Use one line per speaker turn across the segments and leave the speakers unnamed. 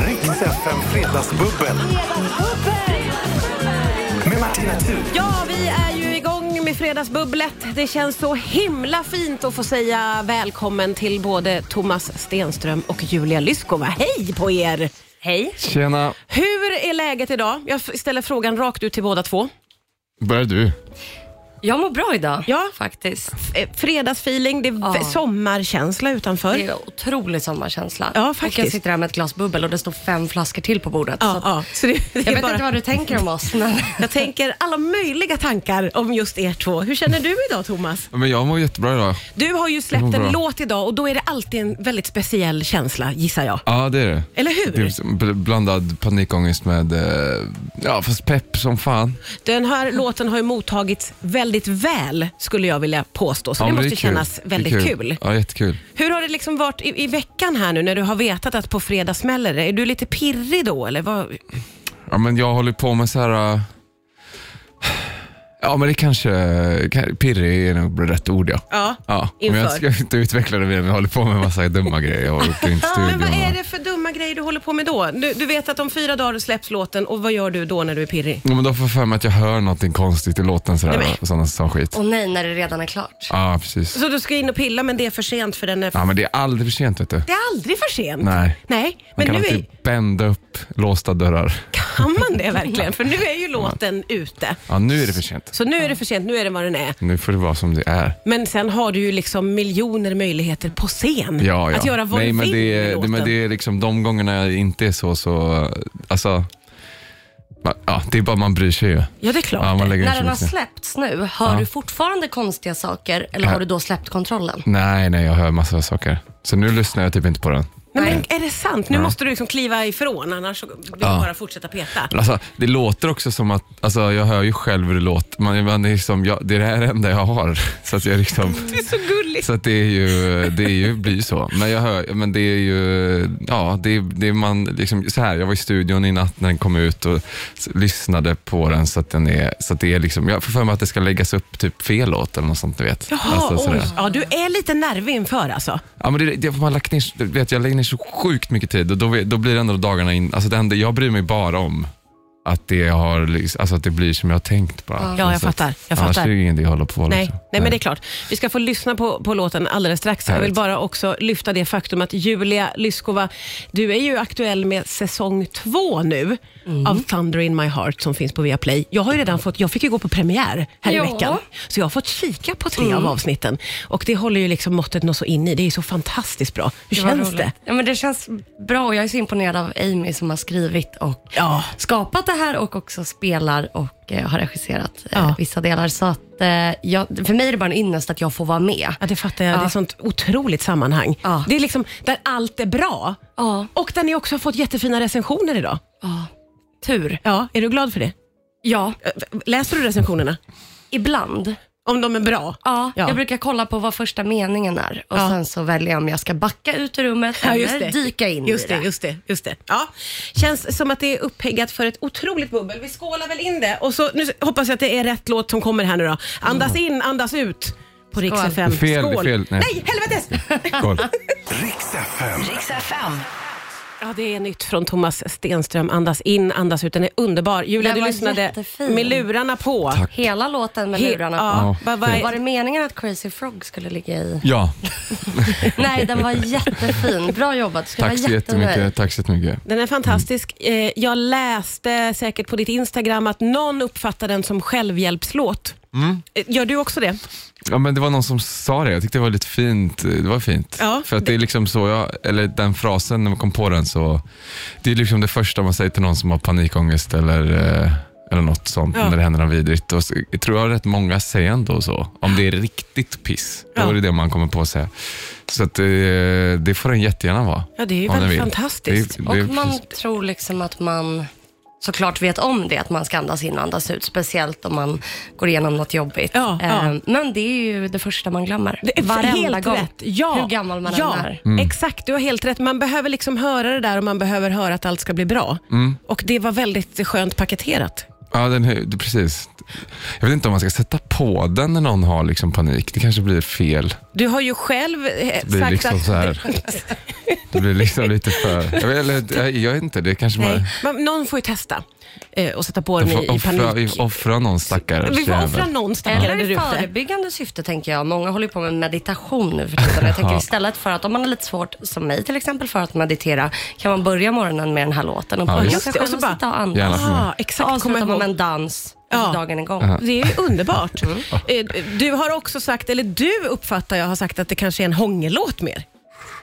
FM Fredagsbubbel med Martina Thun.
Ja, vi är ju igång med Fredagsbubblet. Det känns så himla fint att få säga välkommen till både Thomas Stenström och Julia Lyskova. Hej på er! Hej.
Tjena,
Hur är läget idag? Jag f- ställer frågan rakt ut till båda två.
börjar du?
Jag mår bra idag,
Ja.
faktiskt.
F- eh, Fredagsfeeling, det är v-
Ja.
sommarkänsla
Det
utanför.
är en otrolig sommarkänsla.
Ja,
Och
faktiskt.
jag sitter här med ett glas bubbel och det står fem flaskor till på bordet. så
Ja,
att-
ja. Så det, det
Jag
är
vet
bara...
inte vad du tänker om oss, men
Jag tänker alla möjliga tankar om just er två. Hur känner du idag Thomas?
Ja, Men jag mår jättebra idag.
Du har ju släppt
Jag mår
en
bra.
låt idag och då är det alltid en väldigt speciell känsla gissar jag.
Ja, det är det.
Eller hur?
Det är liksom bl- blandad panikångest med, eh, ja fast pepp som fan.
Den här låten har ju mottagits väldigt väl skulle jag vilja påstå, så
Ja,
det
men
måste
är kul.
kännas
Det är
väldigt kul.
Ja, jättekul.
Hur har det liksom varit i, i veckan här nu när du har vetat att på fredag smäller det? Är du lite pirrig då eller? Vad?
Ja, men jag håller på med så här... eh, Ja, men det kanske... ka- Pirrig är nog rätt ord, ja.
Ja,
ja. Men
inför.
jag ska inte utveckla det vidare, jag håller på med en massa dumma grejer. Jag åker in till
Ja, men
studion.
vad är
och-
det för dumma grejer du håller på med då? Du, du vet att om fyra dagar släpps låten och vad gör du då när du är pirrig?
Ja, men då får jag för mig att jag hör någonting konstigt i låten sådär,
Nej,
och sådana sån skit.
och nej, när det redan är klart.
Ja, precis.
Så du ska in och pilla men det är för sent för den är...
Ja, men det är aldrig för sent, vet du.
Det är aldrig för sent.
Nej.
Nej,
Man
men
kan
nu är,
alltid bända upp låsta dörrar.
kan man det verkligen? För nu är ju låten ute.
Ja, nu är det för sent.
Så nu är det för sent, nu är det vad den är.
Nu får det vara som det är.
Men sen har du ju liksom miljoner möjligheter på scen
Ja, ja.
att göra vad
Nej,
du
men
vill
det
med
är, det,
låten.
men det är liksom de gångerna jag inte är så, så eh, alltså, ma- ja, det är bara man bryr sig ju.
Ja, det är klart.
Ja, man lägger in
När
så
den har
mycket.
släppts nu, hör du fortfarande konstiga saker eller har du då släppt kontrollen?
Nej, nej, jag hör massa saker. Så nu lyssnar jag typ inte på den.
Nej, men är det sant? Nu måste du liksom kliva ifrån, annars så blir det
Ja.
bara fortsätta peta.
Men Alltså, det låter också som att, alltså, jag hör ju själv hur det låter. Man, man är liksom, jag, det är det här enda jag har. Så att jag liksom...
Det är så gulligt.
Så att det är ju, det är ju, blir ju så. Men jag hör, men det är ju, ja, det, är- det är man liksom, så här, jag var i studion i natt när den kom ut och s- lyssnade på den så att den är, så att det är liksom, jag får för mig att det ska läggas upp typ fel låt eller något sånt, du vet.
Jaha,
Alltså, sådär.
oj. Ja, du är lite nervig inför alltså.
Ja, men det, det, man har lagt ner, du vet, jag lägger ner så sjukt mycket tid och då, då blir det ändå dagarna in, alltså det enda, jag bryr mig bara om att det, har, liksom- alltså att det blir som jag har tänkt bara.
Ja, jag
Så att-
fattar, jag
Annars
fattar.
är det ju ingen idé att hålla på.
Nej,
liksom.
nej, men det är klart. Vi ska få lyssna på, på låten alldeles strax. Jag vill
Härligt.
bara också lyfta det faktum att Julia Lyskova, du är ju aktuell med säsong två nu
Mm.
av Thunder in my heart som finns på Viaplay. Jag har ju redan fått, jag fick ju gå på premiär här
Ja. Mm.
i veckan, så jag har fått kika på tre av avsnitten och det håller ju liksom måttet något så in i. Det är ju så fantastiskt bra. Hur
var
känns
roligt.
det?
Ja, men det känns bra och jag är så imponerad av Amy som har skrivit och
Ja.
skapat det här och också spelar och eh, har regisserat eh,
Ja.
vissa delar. Så att, eh, jag, för mig är det bara en ynnest att jag får vara med.
Ja, det fattar jag. Det är ett sånt otroligt sammanhang.
Ja.
Det är liksom där allt är bra
Ja.
och där ni också har fått jättefina recensioner idag.
Tur.
Ja, är du glad för det?
Ja,
Eh, Läser du recensionerna?
ibland.
Om de är bra?
Ja,
Ja.
jag brukar kolla på vad första meningen är och
Ja.
sen så väljer jag om jag ska backa ut ur rummet
Ja,
eller dyka in
just
i det.
det. Just det, just det. Ja. Känns som att det är upphäggat för ett otroligt bubbel. Vi skålar väl in det och så nu hoppas jag att det är rätt låt som kommer här nu då. Andas in, andas ut på Rix
Skål.
FM.
Mm. Fel,
Skål.
fel,
nej.
nej.
helvetes!
Skål.
Riks FM.
Ja, det är nytt från Thomas Stenström. Andas in, andas ut. Den är underbar. Julia,
Den
du
var
lyssnade
jättefin.
med lurarna på.
Hela låten med
He-
lurarna
Ja,
på.
vad- vad är-
Var det meningen att Crazy Frog skulle ligga i?
Ja,
Nej, den var jättefin. Bra jobbat. Du ska
tack så
vara jättenöjd.
jättemycket. Tack så jättemycket.
Den är fantastisk.
Mm.
Eh, Jag läste säkert på ditt Instagram att någon uppfattar den som självhjälpslåt.
Mm.
Eh, Gör du också det?
Ja, men det var någon som sa det. Jag tyckte det var lite fint. Det var fint.
Ja.
För att det är liksom så, jag, eller den frasen när man kom på den så, det är liksom det första man säger till någon som har panikångest eller, eh, eller något sånt
Ja.
när det händer något vidrigt. Och så, jag tror jag rätt många säger ändå så, om det är riktigt piss.
Ja.
Då är det det man kommer på att säga. Så att, eh, det får den jättegärna vara.
Ja, det är ju
om den
väldigt
vill.
fantastiskt.
Det är- det är
Och man
precis-
tror liksom att man såklart vet om det, att man ska andas in och andas ut. Speciellt om man går igenom något jobbigt.
Ja, ja.
Ehm, Men det är ju det första man glömmer.
Det är
Varenda
helt
gång.
Rätt. Ja.
Hur gammal man
ja.
än är.
Mm.
Exakt, du har helt rätt. Man behöver
Mm.
liksom höra det där och man behöver höra att allt ska bli bra. Och det var väldigt skönt paketerat.
Ja, den, hö- det- precis. Jag vet inte om man ska sätta på den när någon har liksom panik. Det kanske blir fel.
Du har ju själv eh,
Det blir
sagt
liksom
att...
så här. Det blir liksom lite för... Jag vet, eller, jag, jag vet inte, det kanske bara...
Nej, men någon får ju testa eh, och sätta på
Jag
den i,
får
i
offra,
panik.
offra någon stackare.
Vi får offra någon stackare
Eller
där
i
ute.
förebyggande syfte tänker jag. Många håller ju på med meditation nu för tiden. Jag tänker istället för att om man är lite svårt, som mig till exempel, för att meditera, kan man börja morgonen med den här låten och
Ja,
påminna
just
sig
det.
själv
Och så
och
bara- Mm.
sitta och andas.
Gärna för mig.
Ja,
Så
exakt. Kommer
avslutar
jag
man
ihåg.
med en dans och
Ja.
så dagen är igång.
Det är ju underbart.
Mm.
Eh, Du har också sagt, eller du uppfattar jag har sagt att det kanske är en hångellåt mer,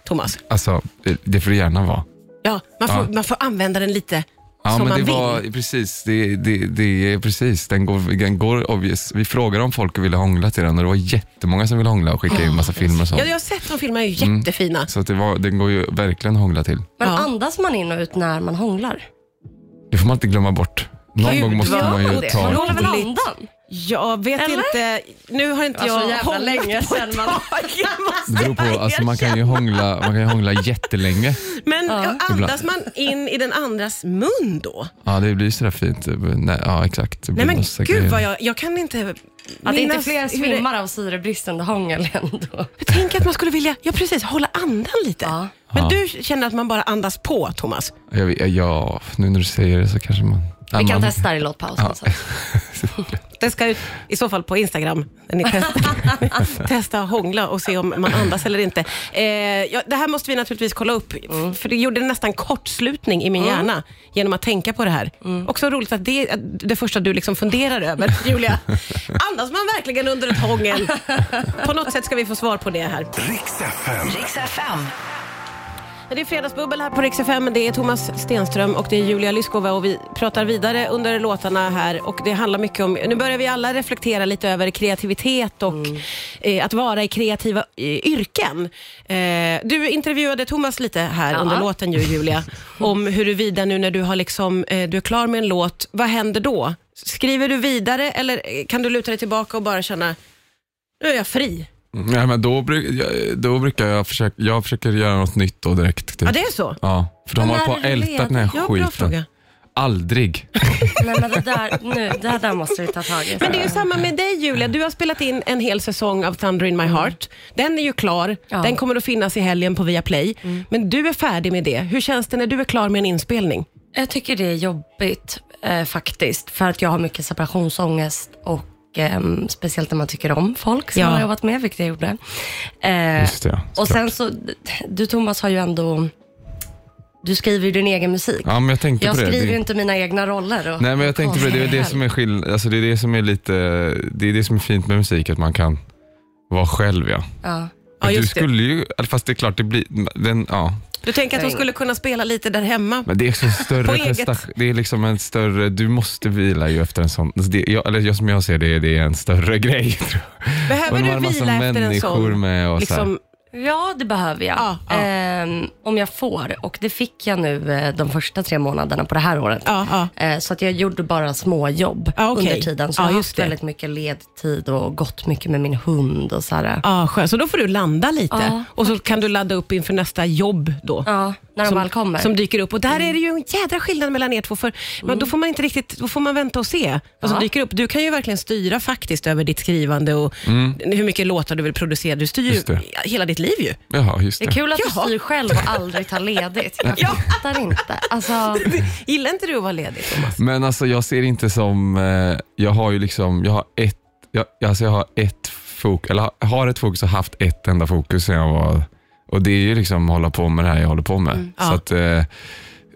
Thomas.
Alltså, det får det gärna vara.
Ja, man får,
Ja.
Man får använda den lite
Ja,
som
men
man
det
vill.
var precis, det, det, det är precis, den går, den går obvious. Vi frågade om folk ville hångla till den och det var jättemånga som ville hångla och skicka in massa filmer och sånt.
Ja, jag har sett de filmerna, är ju
Mm.
jättefina.
Så att det var, den går ju verkligen att hångla till.
Men
Ja.
andas man in och ut när man hånglar?
Det får man inte glömma bort. Någon
Gud,
gång måste
gör
man ju
det?
ta...
Man håller väl
Roligt.
andan?
Jag vet
Eller?
inte, nu har inte
Det var så
jag
jävla
hånglat
länge
på
sedan
ett
man-
tag. Jag måste
Det beror på, alltså man kan ju hångla, man kan ju hångla jättelänge.
Men andas
Ibland.
man in i den andras mun då?
Ja, det blir sådär fint. Nej, ja, exakt. Det blir
Nej men
massa
gud
grejer.
vad jag, jag kan inte
Att det inte
minnas
fler
hur det-
svimmar av syrebrist under hångel ändå.
Jag tänker att man skulle vilja, ja precis, hålla andan lite.
Ja.
Men
Ja.
du känner att man bara andas på Thomas?
Jag, vet- ja, nu när du säger det så kanske man... Ja,
Vi kan
man,
testa det i låtpausen. sen.
Det ska ut i så fall på Instagram. Där ni testar, testa och hångla och se om man andas eller inte. Eh, ja, det här måste vi naturligtvis kolla upp, för det gjorde nästan kortslutning i min hjärna genom att tänka på det här. Också roligt att det är det första du liksom funderar över, Julia. Andas man verkligen under ett hångel? På något sätt ska vi få svar på det här.
Riks FM.
Riks FM.
Det är Fredagsbubbel här på Rix FM. Det är Thomas Stenström och det är Julia Lyskova och vi pratar vidare under låtarna här och det handlar mycket om, nu börjar vi alla reflektera lite över kreativitet och eh, att vara i kreativa eh, yrken. Eh, du intervjuade Thomas lite här
Ja.
under låten ju Julia, om huruvida nu när du, har liksom, eh, du är klar med en låt, vad händer då? Skriver du vidare eller eh, kan du luta dig tillbaka och bara känna, nu är jag fri?
Nej, Mm, men då, bruk, jag- då brukar jag försöka, jag försöker göra något nytt då direkt. Typ.
Ja, det är så?
Ja, för de
Men
har
när
på
är
och
du
ältat den här
Ja, bra
skiten.
fråga.
Aldrig.
Nej, men det där, nu, det här där måste vi ta tag i.
Men det är ju samma med dig Julia. Du har spelat in en hel säsong av Thunder in my heart. Den är ju klar.
Ja. Mm.
Den kommer att finnas i helgen på Viaplay. Men du är färdig med det. Hur känns det när du är klar med en inspelning?
Jag tycker det är jobbigt eh, faktiskt. För att jag har mycket separationsångest och ehm, speciellt när man tycker om folk som
Ja.
man har jobbat med, vilket jag gjorde. Eh,
Just det, ja,
och
såklart.
sen så, du Thomas har ju ändå, du skriver ju din egen musik.
Ja, men jag tänkte
jag
på det.
skriver
det.
ju inte mina egna roller. Och,
Nej, men jag tänkte på det. Det är det som är skill- alltså, det är det som är lite, det är det som är fint med musik, att man kan vara själv ja.
Ja.
Ja,
du
just det.
skulle ju, eller fast det är klart det blir, den, ja.
Du tänker att hon
Nej.
skulle kunna spela lite där hemma?
Men det är också en
På
större
eget.
prestation, det är liksom en större, du måste vila ju efter en sån, alltså, det, jag, eller jag- som jag ser det, det är en större grej. Tror jag.
Behöver
Och de har
du
en massa
vila efter en
människor
sån?
med och så här.
liksom,
Ja, det behöver jag.
Ja, ja.
Ehm, om jag får. Och det fick jag nu eh, de första tre månaderna på det här året.
Ja, ja.
Eh, så att jag gjorde bara småjobb
Ja, okej.
under tiden. Så
Ja,
jag har
just
haft
det.
väldigt mycket ledtid och gått mycket med min hund och så här.
ah, skönt. Så då får du landa lite
Ja,
och så kan du ladda upp inför nästa jobb då.
Ja, när de väl kommer. Mm.
som dyker upp. Och där är det ju en jädra skillnad mellan er två. För men då får man inte riktigt, då får man vänta och se vad som
Ja.
dyker upp. Du kan ju verkligen styra faktiskt över ditt skrivande och hur mycket låtar du vill producera. Du styr ju
Mm. Just det.
hela ditt liv ju.
Jaha, just
det
det.
är kul att du
Ja.
styr själv och aldrig tar ledigt. Jag
Ja.
fattar inte. Alltså,
Gillar inte du att vara ledig Thomas?
Men alltså jag ser inte som, eh, jag har ju liksom, jag har ett, jag, alltså jag har ett fokus, eller har- har ett fokus och haft ett enda fokus sen jag var, och det är ju liksom hålla på med det här jag håller på med.
Mm. Ja.
Så att, eh,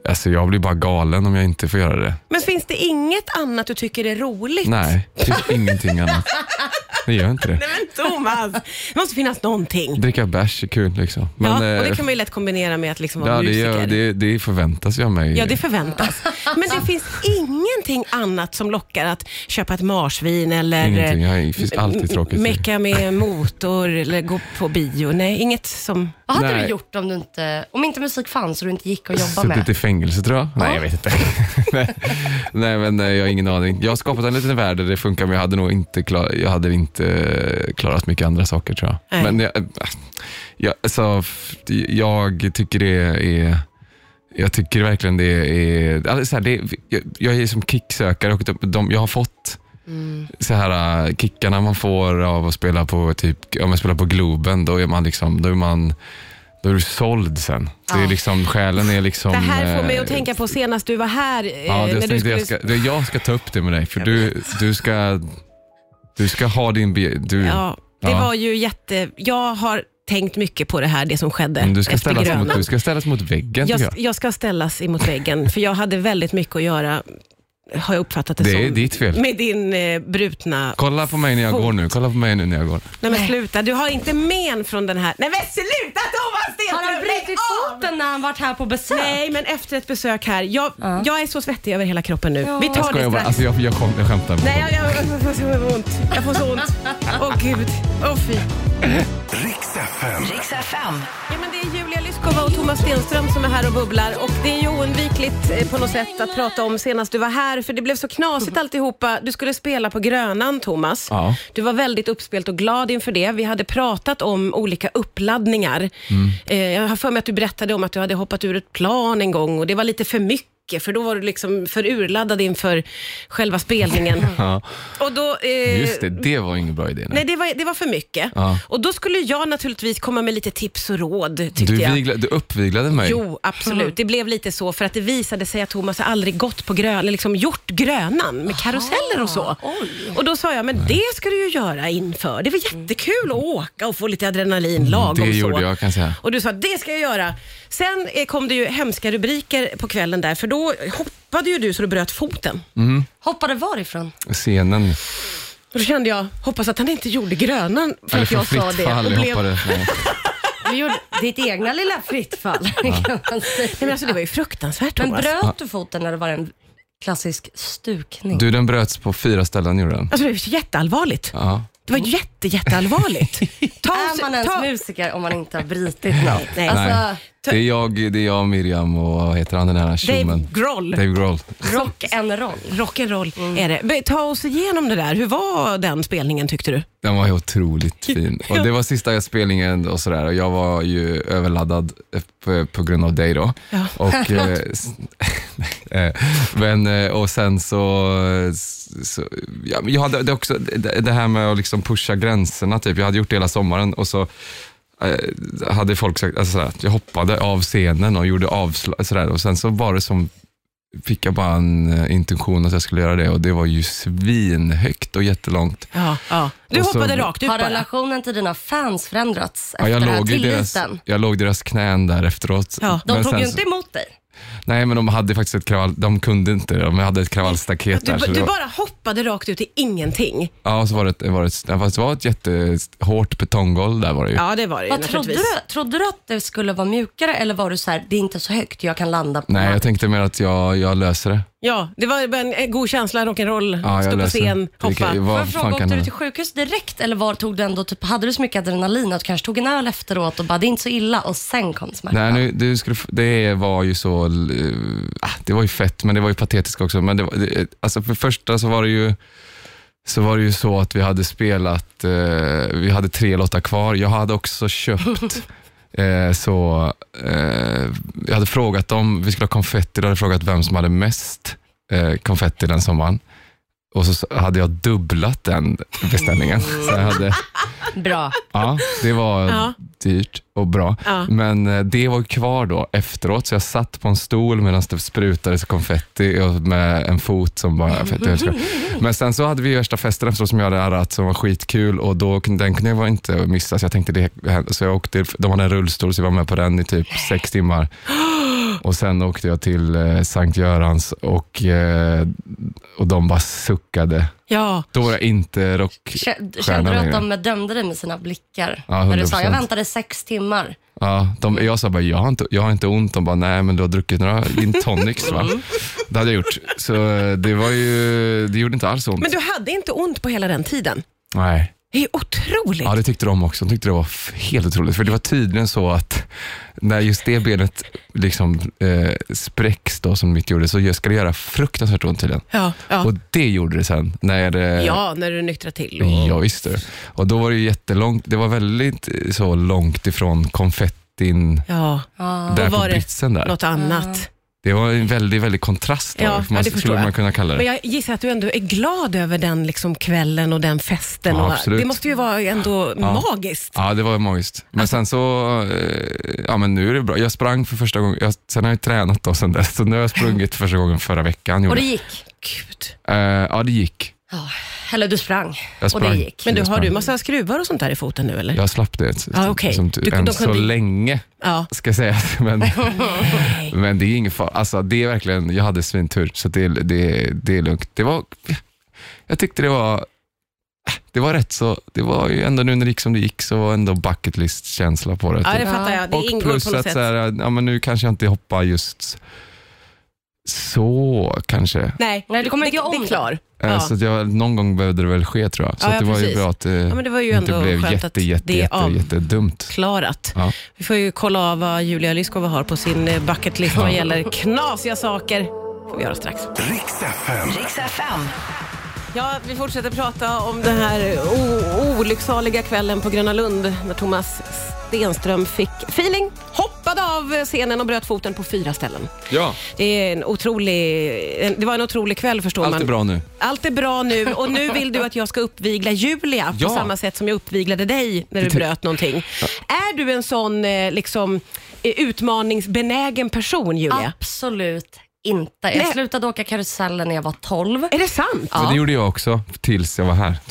alltså jag blir bara galen om jag inte får göra det.
Men finns det inget annat du tycker är roligt?
Nej, det finns ingenting annat. Det gör inte det.
Nej men Thomas, det måste finnas någonting.
Dricka bärs är kul liksom. Men,
ja, och det
eh,
kan man ju lätt kombinera med att liksom vara
ja, det,
musiker.
gör, det, det förväntas ju av mig.
Ja, det förväntas. Men det finns ingenting annat som lockar att köpa ett marsvin eller
Ingenting.
eh,
Ja, det finns alltid tråkigt.
mecka med motor eller gå på bio. Nej, inget som...
vad hade du
Nej.
gjort om, du inte, om inte musik fanns och du inte gick och jobbade med?
Suttit i fängelse tror jag. Nej, jag vet inte. Nej, Nej, men eh, jag har ingen aning. Jag har skapat en liten värld där det funkar, men jag hade nog inte, klar, jag hade inte eh, klarat mycket andra saker tror jag.
Nej.
Men jag, eh, jag, alltså, f- jag tycker det är Jag tycker verkligen det är... Alltså så här, det, jag, jag är som kicksökare och de, de, jag har fått
Mm.
så här äh, kickarna man får av att spela på typ, om jag spelar på Globen, då är man liksom, då är man då är du såld sen. Det är liksom, själen är liksom...
Det här får mig
eh,
att tänka på senast du var här. eh,
Ja, det
när
jag,
du
tänkte, jag, ska,
skulle-
det, jag ska ta upp det med dig, för du, du, ska, du ska ha din... be- Du,
Ja, det
Mm. Ja.
var ju jätte... Jag har tänkt mycket på det här, det som skedde
Men Mm, du, ska
efter
ställas
Grönan.
mot, du ska ställas mot väggen,
jag,
tycker
jag.
jag.
ska ställas emot väggen, för jag hade väldigt mycket att göra, har jag uppfattat det,
Det
som.
är ditt fel.
Med din eh, brutna...
Kolla på mig när jag
Fot.
går nu. Kolla på mig nu när jag går.
Nej men sluta, du har inte men från den här... Nej men sluta Thomas Stenström!
Har han
lägg
brutit
av!
foten när han varit här på besök?
Nej, men efter ett besök här. Jag, jag är så svettig över hela kroppen nu. Vi
Jag
tar det
skojar bara.
strax.
Alltså, jag, jag, kom, jag skämtar.
Nej, jag, jag, jag får så ont. Jag får så ont. Åh gud. Åh fy.
Riks FM.
Riks FM.
Ja, men det är Julia Lyskova och Thomas Stenström som är här och bubblar. Och det är ju oundvikligt eh, på något sätt att prata om senast du var här, för det blev så knasigt alltihopa. Du skulle spela på Grönan, Thomas.
Mm. Ja.
Du var väldigt uppspelt och glad inför det. Vi hade pratat om olika uppladdningar.
Mm.
Eh, Jag har för mig att du berättade om att du hade hoppat ur ett plan en gång och det var lite för mycket, för då var du liksom för urladdad inför själva spelningen.
Ja.
Och då, eh,
Just det, det var ingen bra idé.
Nej, det var, det var för mycket.
Ja.
Och då skulle jag naturligtvis komma med lite tips och råd, tyckte
Du,
jag.
vigla, du uppviglade mig.
Jo, absolut. Det blev lite så för att det visade sig att Thomas har aldrig gått på grön, eller liksom gjort Grönan med karuseller och så. Och då sa jag, men det ska du ju göra inför. Det var jättekul att åka och få lite adrenalin lagom
Mm, det gjorde
så.
jag, kan jag säga.
Och du sa, det ska jag göra. Sen eh, kom det ju hemska rubriker på kvällen där, för då hoppade ju du så du bröt foten.
Mm.
Hoppade varifrån?
Scenen.
Och då kände jag, hoppas att han inte gjorde Grönan för
Eller
att
från
jag sa
fritt
det.
fall.
och
Jag
blev-
hoppade. Nej.
Du gjorde ditt egna lilla fritt fall kan man säga.
Nej, men alltså, det var ju fruktansvärt
Men
Thomas.
bröt du foten när det var en klassisk stukning?
Du, den bröts på fyra ställen, gjorde den.
Alltså det var ju jätteallvarligt.
Ja.
Det var jätte, jätteallvarligt. Ta,
Är man ens
ta,
musiker om man inte har brutit något?
Nej.
Nej.
Alltså,
Det är jag, det är jag Miriam och vad heter han den här
Dave
tjommen?
Grohl.
Dave Grohl.
rock en roll.
Rock'n'roll
Mm.
är det. Men Ta oss igenom det där. Hur var den spelningen tyckte du?
Den var ju otroligt fin. Och det var sista spelningen och sådär. Och jag var ju överladdad eh, på, på grund av dig då.
Ja.
Och, eh, s- eh, men, eh, och sen så... så ja, men jag hade det, också, det det här med att liksom pusha gränserna. Typ. Jag hade gjort det hela sommaren och så eh, hade folk sagt alltså, sådär, att jag hoppade av scenen och gjorde avslag. Sådär. Och sen så var det som fick jag bara en eh, intention att jag skulle göra det och det var ju svinhögt och jättelångt.
Ja, ja. Du
Och så-
hoppade rakt ut
Har
bara.
relationen till dina fans förändrats
Ja,
efter
jag,
den här
låg i deras,
tilliten?
jag låg i deras knän där efteråt.
Ja,
De
Men
tog
sen
ju
så-
inte emot dig.
Nej, men de hade faktiskt ett kravall, de kunde inte det. De hade ett kravallstaket
Du,
där. så det
du
var,
bara hoppade rakt ut i ingenting.
Ja, så var det, ett- var det, ett- ja, fast det var ett jättehårt betonggolv där var det ju.
Ja, det var det ju
Vad trodde
naturligtvis.
du? Trodde du att det skulle vara mjukare eller var du så här, det är inte så högt, jag kan landa på
Nej,
marken?
jag tänkte mer att jag, jag löser det.
Ja, det var en en god känsla, rock'n'roll,
Ja, jag
stå på
löser
scen,
det. Det
hoppa.
kan-
Får
vad
jag
fan
fråga,
kan
åkte du
hända?
till sjukhus direkt eller var tog du ändå, typ, hade du så mycket adrenalin att du kanske tog en öl efteråt och bara, det är inte så illa och sen kom smärtan?
Nej, nu, du skulle, f- det var ju så... eh, ah, Det var ju fett, men det var ju patetiskt också. Men det var, det, alltså för det första så var det ju så var det ju så att vi hade spelat, eh, vi hade tre låtar kvar. Jag hade också köpt, eh, så eh, jag hade frågat dem, vi skulle ha konfetti, då hade jag frågat vem som hade mest eh, konfetti den sommaren. Och så s- hade jag dubblat den beställningen. Så jag hade,
Bra.
Ja, det var
Ja.
dyrt och bra.
Ja.
Men eh, det var ju kvar då efteråt, så jag satt på en stol medan det sprutades konfetti och med en fot som bara... för att jag älskar. Men sen så hade vi värsta festen efteråt som jag hade arrat som var skitkul och då, kunde- den kunde jag bara inte missa. Så jag tänkte det, så jag åkte, de hade en rullstol så jag var med på den i typ sex timmar. Och sen åkte jag till eh, Sankt Görans och, eh, och de bara suckade.
Ja,
Då var jag inte
Kä-
rockstjärna
Kände du att
längre.
de dömde dig med sina blickar?
Ja,
när du sa,
100%.
jag väntade sex timmar.
Ja,
Mm.
de, jag sa bara, jag har, inte, jag har inte ont. De bara, nej men du har druckit några gin tonics va?
Mm.
Det hade jag gjort. Så eh, det var ju, det gjorde inte alls ont.
men du hade inte ont på hela den tiden.
Nej.
Det är ju otroligt.
Ja, det tyckte de också. De tyckte det var f- helt otroligt. För det var tydligen så att när just det benet liksom eh, spräcks då som mitt gjorde, så jag- ska det göra fruktansvärt ont tydligen.
ja, ja.
Och det gjorde det sen. När, eh,
ja när du nyktrade till.
Ja, visst det. Och då var det ju jättelångt, det var väldigt eh, så långt ifrån konfetti rätt in
Ja,
där
då
på
var det
britsen där.
något annat.
Det var en väldigt, väldigt kontrast där,
Ja,
får
ja,
man,
det förstår
skulle
jag.
man kunna kalla det.
Men jag gissar att du ändå är glad över den liksom kvällen och den festen.
Ja,
och,
absolut.
det måste ju vara ändå magiskt.
Ja, det var magiskt. Men
Alltså-
sen så, eh, ja men nu är det bra. Jag sprang för första gången, jag, sen har jag tränat då sen dess, så nu har jag sprungit för första gången förra veckan.
Och
gjorde
det
jag.
gick.
Gud.
Eh, ja, det gick.
Ja, eller du sprang.
Jag
Och
sprang.
det gick.
Men du,
Jag
har
sprang.
du massa skruvar och sånt där i foten nu eller?
Jag slapp det
Ja, okej.
som,
Du-
än
de
så
kunde-
länge,
Ja.
ska sägas. Men, men det är ingen fara. Alltså, det är verkligen, jag hade svintur, så det, det, det är lugnt. Det var, jag tyckte det var, det var rätt så, det var ju ändå nu när det gick som det gick så var ändå bucket list-känsla på det.
Ja,
typ.
det fattar jag. Det
och
ingår
plus
på något
att
sätt.
Så här, ja, men nu kanske jag inte hoppar just så kanske.
Nej,
Nej, du kommer inte göra om
det. är
det.
klar.
Eh,
Ja.
Så att jag, någon gång behövde det väl ske tror jag. Så
Ja,
att det
ja,
var ju
precis.
bra att det,
Ja, men det var ju
inte
ändå
blev
skönt att
jätte, jätte,
det är
jätte,
av-
jättedumt.
klarat.
Ja.
Vi får ju kolla av vad Julia Lyskova har på sin eh, bucket list vad gäller knasiga saker. får vi göra strax.
Riks FM.
Riks FM.
Ja, vi fortsätter prata om den här o- olycksaliga kvällen på Gröna Lund när Thomas Stenström fick feeling, hoppade av scenen och bröt foten på fyra ställen.
Ja,
Det, är en otrolig, en- det var en otrolig kväll förstår man.
allt är bra nu.
Allt är bra nu och nu vill du att jag ska uppvigla Julia
Ja.
på samma sätt som jag uppviglade dig när du bröt någonting. Är du en sån eh, liksom, eh, utmaningsbenägen person Julia?
Absolut inte. Jag
Nej.
slutade åka karusellen när jag var 12.
Är det sant?
Men det gjorde jag också tills jag var här.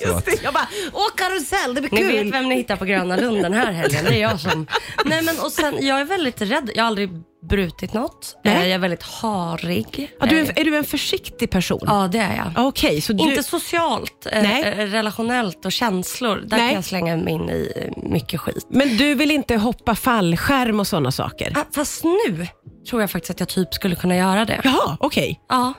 Just det, jag bara, åh karusell, det blir
Ni
kul.
vet vem ni hittar på Gröna Lund den här helgen. Det är jag som... Nej, men, och sen, jag är väldigt rädd. Jag har aldrig brutit något.
Nej.
Eh, Jag är väldigt harig.
Ja, du är,
Eh,
en- är du en försiktig person?
ja det är jag.
Ja, Okej, så du...
Inte socialt, eh,
Nej.
eh, relationellt och känslor. Där
Nej.
kan jag slänga mig in i eh, mycket skit.
Men du vill inte hoppa fallskärm och sådana saker?
Ah, Fast nu tror jag faktiskt att jag typ skulle kunna göra det.
Jaha, okej.
Ja.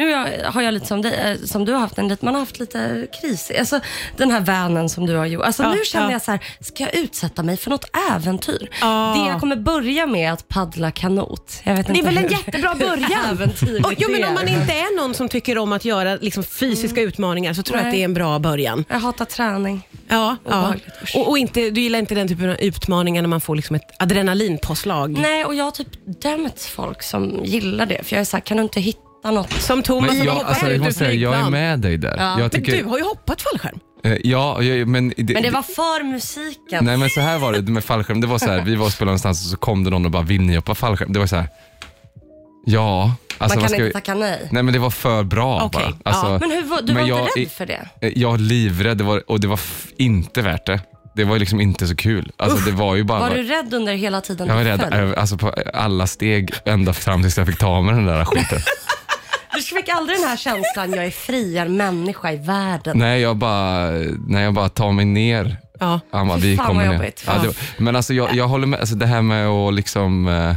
Nu har jag- har jag lite som, dig, eh, som du har haft, en, lite- man har haft lite kris. Alltså, den här vanen som du har gjort. Alltså,
Ja,
nu känner
ja.
jag så här, ska jag utsätta mig för något äventyr?
Ja.
Det jag kommer börja med är att paddla kanot. Jag vet
Det är
inte
väl en
hur-
jättebra
hur
början?
äventyrligt
Och, jo, men
det
om
är.
man inte är någon som tycker om att göra liksom, fysiska utmaningar så tror jag
Nej.
att det är en bra början.
Jag hatar träning.
Ja, ja.
Obehagligt, usch.
Och, och inte, du gillar inte den typen av utmaningar när man får liksom ett adrenalinpåslag.
Nej, och jag har typ dömt folk som gillar det. För jag är så här, kan du inte hitta något?
Som Thomas
Men
som
jag,
hoppade
alltså, jag,
ut ur
måste säga, jag är
flygplan.
med dig där. Jag
Men du
tycker,
har ju hoppat fallskärm.
eh, ja, jag, men, det,
Men det var för musiken.
Nej men så här var det med fallskärm. Det var så här, vi var och spelade någonstans och så kom det någon och bara, vill ni hoppa fallskärm? Det var så här, ja.
man
Alltså, vad
kan
ska
inte
vi-
tacka nej.
Nej men det var för bra
Okej,
bara.
ja.
Men hur, var- du
men
var
jag
inte
är-
rädd för det?
Eh, Jag var livrädd det var, och det var f- inte värt det. Det var ju liksom inte så kul. Alltså, det var ju bara...
Var du rädd under hela tiden
jag var
du
rädd
föll?
eh, alltså, på alla steg ända fram tills jag fick ta med den där skiten.
Du fick aldrig den här känslan, jag är friare människa i världen.
nej, jag bara, nej, jag bara tar mig ner.
Ja.
Han bara,
Fy
vi
fan,
kommer
vad
ner.
jobbigt.
Ja, det var, men alltså, jag, jag håller med. Alltså, det här med att liksom... eh,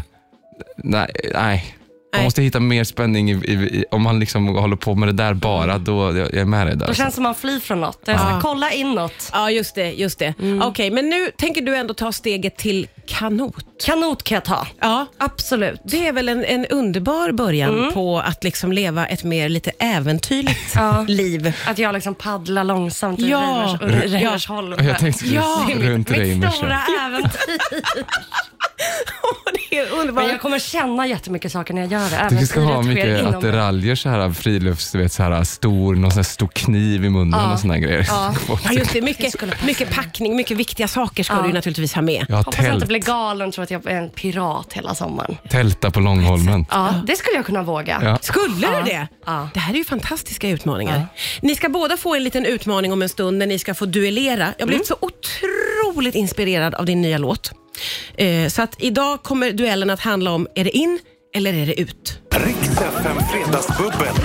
Nej, nej. Man
Nej.
måste hitta mer spänning i, i, i, om man liksom håller på med det där bara. Då, jag, jag är med dig där.
Då
alltså.
känns det som man flyr från något. Jag ska kolla inåt.
Ja, just det. Just det.
Mm.
Okej, men nu tänker du ändå ta steget till kanot.
Kanot kan jag ta.
Ja,
Absolut. Mm.
Det är väl en, en underbar början på att liksom leva ett mer lite äventyrligt
Ja.
liv.
Att jag liksom paddlar långsamt i
Ja.
Reimers- under Reimersholm.
jag tänkte
Ja,
ja, runt dig
Mitt
Imersen.
stora äventyr.
det är underbart.
Men jag kommer känna jättemycket saker när jag gör det.
Du ska ha
Äventyret sker
mycket
inom mig.
attiraljer, så här, frilufts, du vet, så här, stor, någon sån här stor kniv i munnen
Ja.
och såna här grejer.
Ja.
Ja, just det. Mycket,
Det skulle passa.
mycket packning, mycket viktiga saker ska
Ja.
du ju naturligtvis ha med.
Jag har
Hoppas jag inte
tält,
blir galen och tror att jag är en pirat hela sommaren.
tälta på Långholmen.
Ja, det skulle jag kunna våga.
Ja.
Skulle
Ja.
du det?
Ja.
Det här är ju fantastiska utmaningar. Ni ska båda få en liten utmaning om en stund när ni ska få duellera. Jag blev
Mm.
så otroligt inspirerad av din nya låt. Eh, så att idag kommer duellen att handla om, är det in eller är det ut?
Riks FM Fredagsbubbel.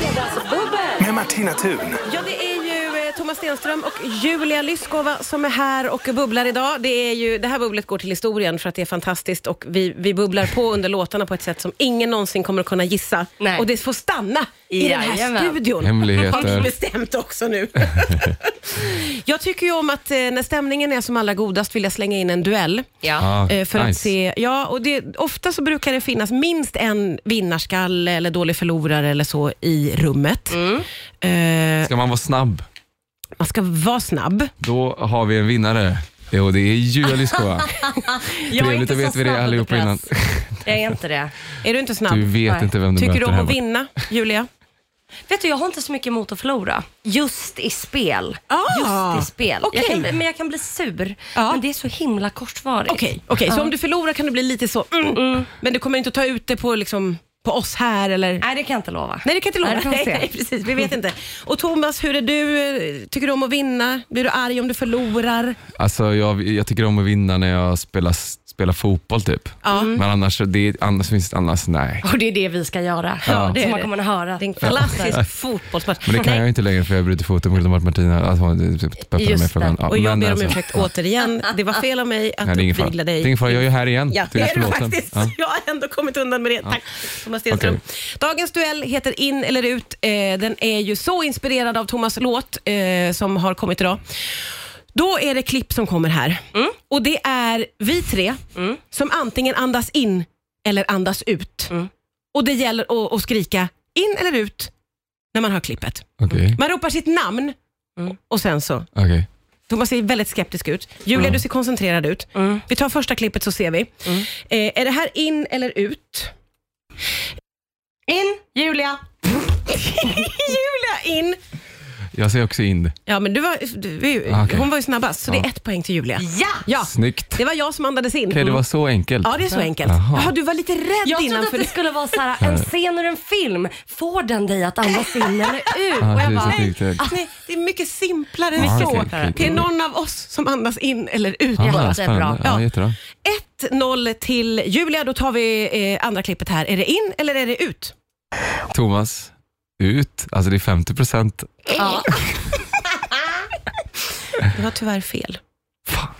Med Martina Thun.
Ja, det är ju eh, Thomas Stenström och Julia Lyskova som är här och bubblar idag. Det, är ju, det här bubblet går till historien för att det är fantastiskt och vi, vi bubblar på under låtarna på ett sätt som ingen någonsin kommer att kunna gissa.
Nej.
Och det får stanna i den här
Jajamän.
studion.
Hemligheter.
Har vi bestämt också nu. jag tycker ju om att eh, när stämningen är som allra godast vill jag slänga in en duell.
Ja.
Eh, För att
Ah, nice.
se, ja, och det, ofta så brukar det finnas minst en vinnarskalle eller dålig förlorare eller så i rummet.
Mm.
Eh,
Ska man vara snabb,
man ska vara snabb.
då har vi en vinnare. Jo, det är Julia
Jag är
Trevligt
inte
att
så
vet vi det
snabb under
allihopa
press.
innan.
Jag är inte det.
Är du inte snabb?
Du vet
Nej.
inte vem du
Tycker
möter
du om
hemma.
att vinna, Julia?
Vet du, jag har inte så mycket emot att förlora. Just i spel.
Ah,
Just i spel. Jag kan,
okej.
bli- men jag kan bli sur.
Ja.
Men det är så himla kortvarigt.
Okej, okej. så om du förlorar kan du bli lite så, mm, men du kommer inte att ta ut det på, liksom, på oss här eller?
Nej, det kan jag inte lova.
Nej, det kan jag inte
Nej,
lova.
det
Nej,
får vi se.
precis. Vi vet inte. Och Thomas, hur är du? Tycker du om att vinna? Blir du arg om du förlorar?
Alltså, jag, jag tycker om att vinna när jag spelar, spelar fotboll typ.
Mm.
Men annars, det, är- annars finns det annars, nej.
Och det är det vi ska göra.
Ja,
det är
Som man
det.
kommer att höra.
Det är en klassisk fotbollsmatch.
Men det kan
Nej,
jag inte längre för jag har brutit foten på grund av att Martina att hon peppade
Just
mig för
det.
den.
Och jag
men
ber om
alltså,
ursäkt
ja.
återigen. Det var fel av mig
Nej,
att
det är ingen fara.
uppvigla
Det
dig.
är ingen fara, jag är ju här igen.
Ja,
Till
det
din
är du
förlåten.
faktiskt.
Ja.
Jag har ändå kommit undan med det. Tack Thomas Stenström.
Okej.
Dagens duell heter In eller ut. Eh, Den är ju så inspirerad av Thomas låt eh, som har kommit idag. Då är det klipp som kommer här. Och det är vi tre som antingen andas in eller andas ut. Och det gäller att, att skrika in eller ut när man hör klippet.
Okej,
Man ropar sitt namn och sen så
okej.
Thomas ser väldigt skeptisk ut. Julia,
Mm.
du ser koncentrerad ut.
Mm.
Vi tar första klippet så ser vi. Eh, är det här in eller ut?
In, Julia.
Julia, in!
Jag säger också in.
Ja, men du var, du, vi,
Ah, okej.
hon var ju snabbast, så det är ett poäng till Julia.
Ja!
Ja,
Snyggt.
det var jag som andades in.
Okej, det var så enkelt.
Ja, det är så enkelt.
Jaha.
Jaha, du var lite rädd
Jag
innan.
trodde att
för
det skulle vara så här, en scen ur en film. Får den dig att andas in eller ut?
Ja,
Och jag
precis,
bara,
jag tänkte-
Ah, nej, det är mycket simplare än
Ja,
så.
okej, okej,
Det är
okej.
någon av oss som andas in eller ut.
Ja,
Jättebra.
spännande.
Ja.
Ja, jättebra.
1-0 till Julia. Då tar vi eh, andra klippet här. Är det in eller är det ut?
Thomas, ut. Alltså det är 50 procent.
Det var tyvärr fel.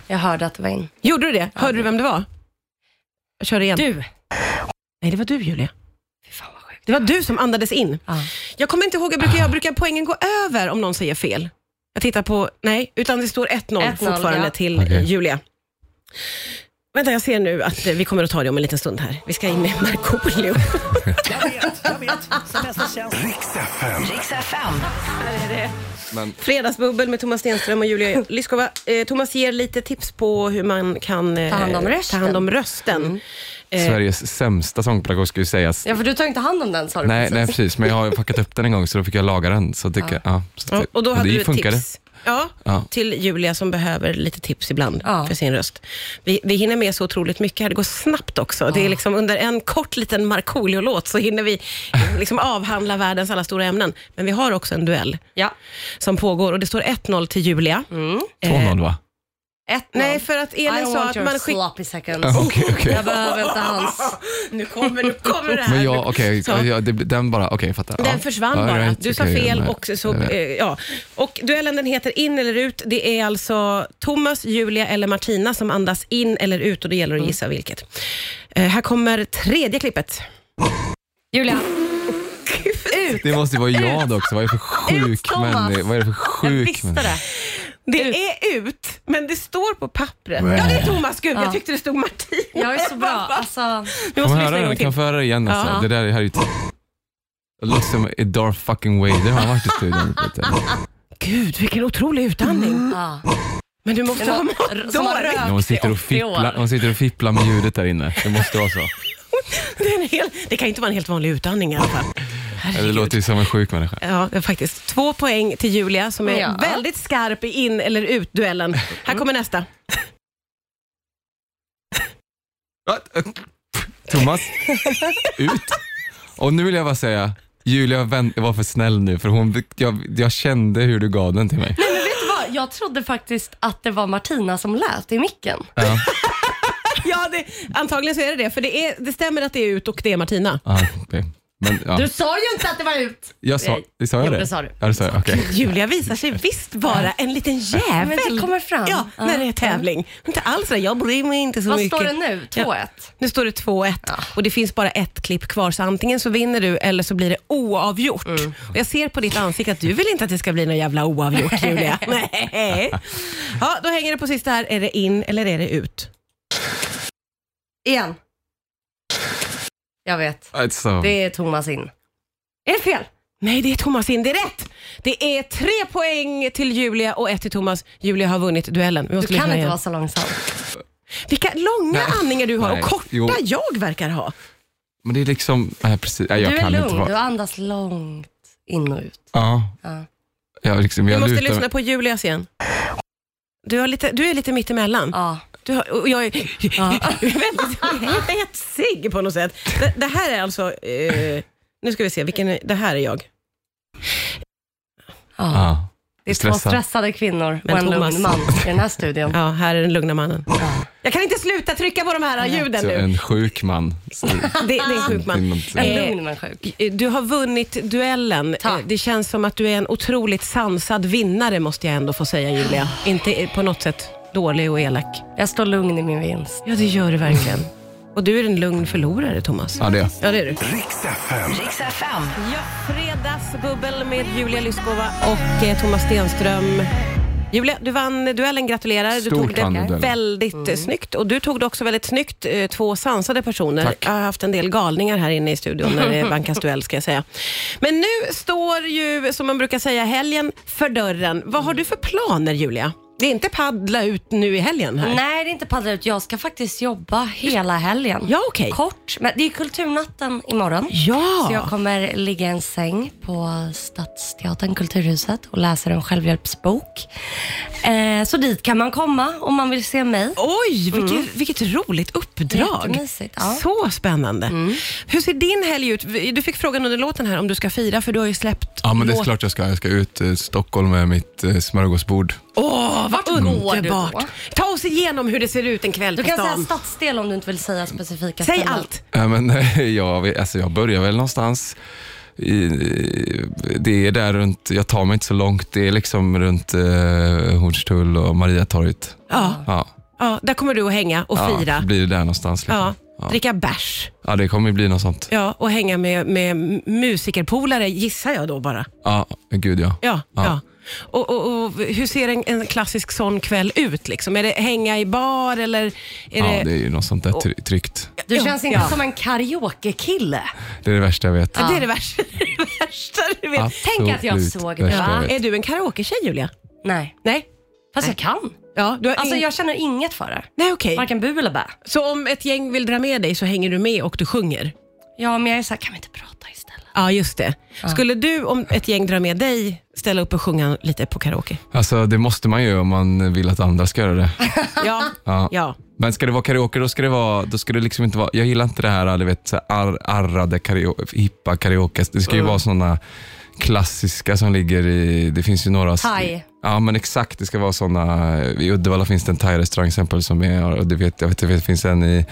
Jag hörde att det var in.
Gjorde du det? Hörde du vem det var? Jag kör igen.
Du.
Nej, det var du Julia.
Fy fan vad sjukt.
Det var du som andades in.
Ja.
Jag kommer inte ihåg, jag brukar, jag brukar poängen gå över om någon säger fel. Jag tittar på, nej, utan det står 1-0
1-0,
fortfarande
ja.
till
Okej.
eh, Julia. Vänta, jag ser nu att eh, vi kommer att ta det om en liten stund här. Vi ska in med Markoolio.
Riks FM.
Men
Fredagsbubbel med Thomas Stenström och Julia Lyskova. Eh, Thomas ger lite tips på hur man kan eh,
Ta hand om
ta
rösten. Mm.
hand om rösten. Eh.
Sveriges sämsta sångpedagog ska ju sägas.
Ja, för du tar inte hand om den sa du
Nej,
precis.
nej, precis. Men jag har ju packat upp den en gång så då fick jag laga den. Så det, ja. så
Ja,
det,
och då hade
Typ. det
du ett
funkade.
tips. Ja,
Ja.
till Julia som behöver lite tips ibland
Ja.
för sin röst. Vi, vi hinner med så otroligt mycket här. Det går snabbt också. Det är liksom under en kort liten Markoolio-låt så hinner vi liksom avhandla världens alla stora ämnen. Men vi har också en duell
Ja.
som pågår och det står 1-0 till Julia. eh,
2-0 va?
Ett
Nej,
noll.
för att
I
Elin
don't
sa
want
att
your
man skickar...
sloppy seconds.
Oh,
Okej, okej.
Jag behöver inte hans.
Nu kommer, nu kommer det här.
Men jag, okej,
Så.
ja, det- den bara, okej jag fattar.
Den
Ja.
försvann
Ja,
bara.
right,
du sa
okej,
fel
nej.
och så,
Jag vet.
eh, ja. Och duellen den heter in eller ut. Det är alltså Thomas, Julia eller Martina som andas in eller ut och det gäller
Mm.
att gissa vilket. Eh, här kommer tredje klippet.
Julia.
Det måste ju vara jag då också. Vad är det för sjuk
Thomas.
människa? Vad är det för
Jag
sjuk
visste det.
Det är ut, men det står på pappret. Ja, det är Thomas. Gud, jag tyckte det stod Martina.
Jag är så bra. Alltså,
Nu
Kan
måste vi
man höra
lyssna en
den?
gång
Kan
till.
vi få höra det igen? Alltså? Det där det här är ju... Det låter som Darth fucking Vader har varit i studion. vet du.
Gud, vilken otrolig utandning.
ja.
Men du måste ha mått
r- som har
dåligt.
rökt
Men Hon sitter,
i
och
80
fipplar,
år.
hon sitter och fipplar med ljudet där inne. Det måste vara så.
Det, är en hel- det kan inte vara en helt vanlig utandning i alla fall.
Det
Herregud.
låter ju som en sjuk människa.
Ja, det är faktiskt. Två poäng till Julia som är
Ja.
väldigt skarp i in eller ut-duellen. Här kommer nästa.
Va? eh, Thomas, ut. Och nu vill jag bara säga, Julia vän- var för snäll nu för hon, jag, jag kände hur du gav den till mig.
Men vet du vad? Jag trodde faktiskt att det var Martina som lät i micken.
Ja.
Ja, det, antagligen så är det det. För det, är, det stämmer att det är ut och det är Martina.
Ja, ah, okej. Men, ja.
Du sa ju inte att det var ut.
Jag sa, det sa jag
Jo,
det?
det sa du.
Ja, det sa jag. Okej.
Julia visar sig visst vara en liten jävel.
Men det kommer fram.
Ja,
Ja.
när det är tävling. Inte alls det. Jag bryr mig inte så
Vad
mycket.
står det nu? 2-1?
Nu står det 2-1 och det finns bara ett klipp kvar, så antingen så vinner du eller så blir det oavgjort.
Mm.
Och jag ser på ditt ansikte att du vill inte att det ska bli något jävla oavgjort, Julia. Nej. Ja, då hänger det på sista här. Är det in eller är det ut?
Igen. Jag vet.
Alltså,
Det är Thomas in. Är det fel?
Nej, det är Thomas in. Det är rätt! Det är tre poäng till Julia och ett till Thomas. Julia har vunnit duellen. Vi
Du
måste lyssna
kan inte
igen.
vara så långsam.
Vilka långa
Nej.
andningar du har
Nej.
och korta
Jo.
jag verkar ha.
Men det är liksom, nej precis, nej, jag
du är
kan inte
lugn,
vara...
du andas långt in och ut.
Ja.
Ja.
Jag, liksom,
Vi
jag
måste
lutar,
lyssna på Julias igen. Du, har lite, du är lite mittemellan.
Ja.
Du har, och jag är väldigt hetsig på något sätt. Det, det här är alltså, eh, nu ska vi se, vilken, är- det här är jag.
Ja.
Ja.
Det är två
Stressad.
stressade kvinnor
Men
och en
Thomas-
lugn man i den här studion.
Ja, här är den lugna mannen. Jag kan inte sluta trycka på de här ljuden
Så
nu.
en sjuk man. Så-
Det, det är en sjuk man.
Det är något-
En
Eh,
lugn men sjuk.
Eh, Du har vunnit duellen.
Tack.
Eh, Det känns som att du är en otroligt sansad vinnare måste jag ändå få säga Julia. Inte eh, på något sätt dålig och elak.
Jag står lugn i min vinst.
Ja, det gör du verkligen. Och du är en lugn förlorare, Thomas.
Ja, det är jag.
Ja, det är du.
Riks FM.
Riks FM.
Ja, fredagsbubbel med Julia Lyskova och eh, Thomas Stenström. Julia, du vann duellen, gratulerar. Du
Stort
tog
vann
det
duellen.
väldigt eh, snyggt och du tog det också väldigt snyggt. eh, Två sansade personer.
Tack.
Jag har haft en del galningar här inne i studion när det vankas duell ska jag säga. Men nu står ju, som man brukar säga, helgen för dörren. Vad har du för planer Julia? Det är inte paddla ut nu i helgen här?
Nej, det är inte paddla ut. Jag ska faktiskt jobba hela helgen.
Ja, okej.
Kort, men det är kulturnatten imorgon.
Ja.
Så jag kommer ligga i en säng på Stadsteatern, Kulturhuset och läsa en självhjälpsbok. Eh, så dit kan man komma om man vill se mig.
Oj, vilket, vilket roligt uppdrag.
Mm. Jättemysigt, ja. Mm.
Så spännande. Hur ser din helg ut? Du fick frågan under låten här om du ska fira, för du har ju släppt
Ja, men det är
låt-
klart jag ska. Jag ska ut i Stockholm med mitt eh, smörgåsbord.
Åh, vad
går du då?
underbart. Ta oss igenom hur det ser ut en kväll
Du
på
kan
stan.
säga stadsdel om du inte vill säga specifika
Säg
ställen.
allt.
Ja, men, jag, vet- alltså, jag börjar väl någonstans. I, i- det är där runt, jag tar mig inte så långt. Det är liksom runt eh, Hornstull och Mariatorget.
Ja,
Ja,
ja, där kommer du att hänga och
ja,
fira.
det blir det där någonstans. Liksom.
Ja,
Ja.
Dricka bärs
ja, det kommer ju bli något sånt.
ja, och hänga med, med musikerpolare, gissar jag då bara.
Ja, gud ja.
Ja, ja.
Ja.
Och, och, och hur ser en, en klassisk sån kväll ut? Liksom? Är det hänga i bar eller? Är
Ja, det är ju något sånt där try- tryggt.
Du
Ja.
känns inte
Ja.
som en karaokekille.
Det är det värsta jag vet.
Ja. Det är det värsta, det värsta du vet.
Tänk att jag
Absolut
såg det,
värsta
va?
jag vet.
Är du en karaoke-tjej Julia?
Nej,
Nej?
fast jag kan.
Ja, du har
Alltså
ing-
jag känner inget för det.
Nej okej.
Varken bu eller bä.
Så om ett gäng vill dra med dig så hänger du med och du sjunger?
Ja, men jag är såhär, kan vi inte prata istället?
Ja, just det. Skulle du, om ett gäng drar med dig, ställa upp och sjunga lite på karaoke?
Alltså, det måste man ju om man vill att andra ska göra det.
Ja.
Ja.
ja.
Men ska det vara karaoke, då ska det vara, då ska det liksom inte vara, jag gillar inte det här, du vet, så här ar, arrade karaoke, hippa karaoke. Det ska ju
Mm.
vara sådana klassiska som ligger i, det finns ju några.
Thai.
Ja men exakt, det ska vara sådana, i Uddevalla finns det en thai-restaurang till exempel som är, och det vet, jag vet, jag vet, det finns en i,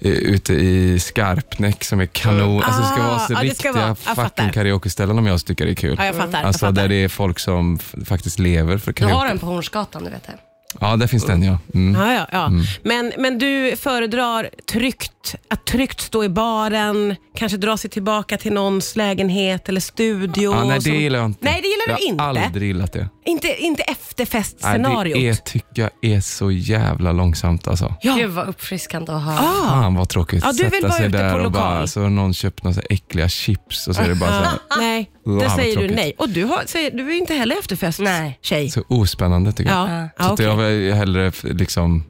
i, ute i Skarpnäck som är kanon. Alltså det ska vara så
Ah, ja, det ska
riktiga
vara. Jag fattar.
fucking karaokeställen om jag tycker det är kul.
Ja, jag fattar, jag
Alltså
fattar.
där det är folk som f- faktiskt lever för
Du
karaoke.
har den på Hornsgatan, du vet det.
Ja, där finns den ja. Mm.
ja, ja, ja. Men, men du föredrar tryggt, att tryggt stå i baren, kanske dra sig tillbaka till någons lägenhet eller studio?
Ja, nej,
som-
det gillar jag inte.
Nej, det gillar du inte.
Jag har aldrig gillat det.
Inte, inte
Nej,
efterfestscenariot?
det är, tycker jag är så jävla långsamt alltså.
Ja.
Gud vad uppfriskande att höra.
Ah.
Fan vad tråkigt.
Ja, du vill
Sätta
vara
sig
ute
där
på
och bara,
lokal.
så har någon köpt några så här äckliga chips och så är det bara så, här,
Nej,
Wow,
det
vad
säger du
tråkigt.
nej. Och du, har, säger, du är inte heller
Nej.
efterfesttjej.
så ospännande tycker jag.
Ja,
Så
ja,
att jag vill hellre f- liksom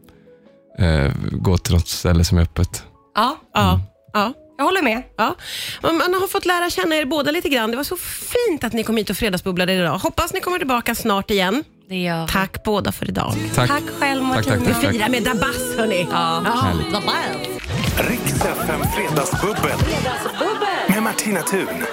eh, gå till något ställe som är öppet.
Ja,
ja,
Mm.
ja.
jag håller med.
Ja, Men man har fått lära känna er båda lite grann. Det var så fint att ni kom hit och fredagsbubblade idag. Hoppas ni kommer tillbaka snart igen.
Det gör vi.
Tack båda för idag.
Tack.
Tack själv
Tack,
Martina.
tack, tack, tack.
Fira med Dabas hörni.
Ja.
Härligt.
The Wild.
Riks FM Fredagsbubbel. Med Martina Thun.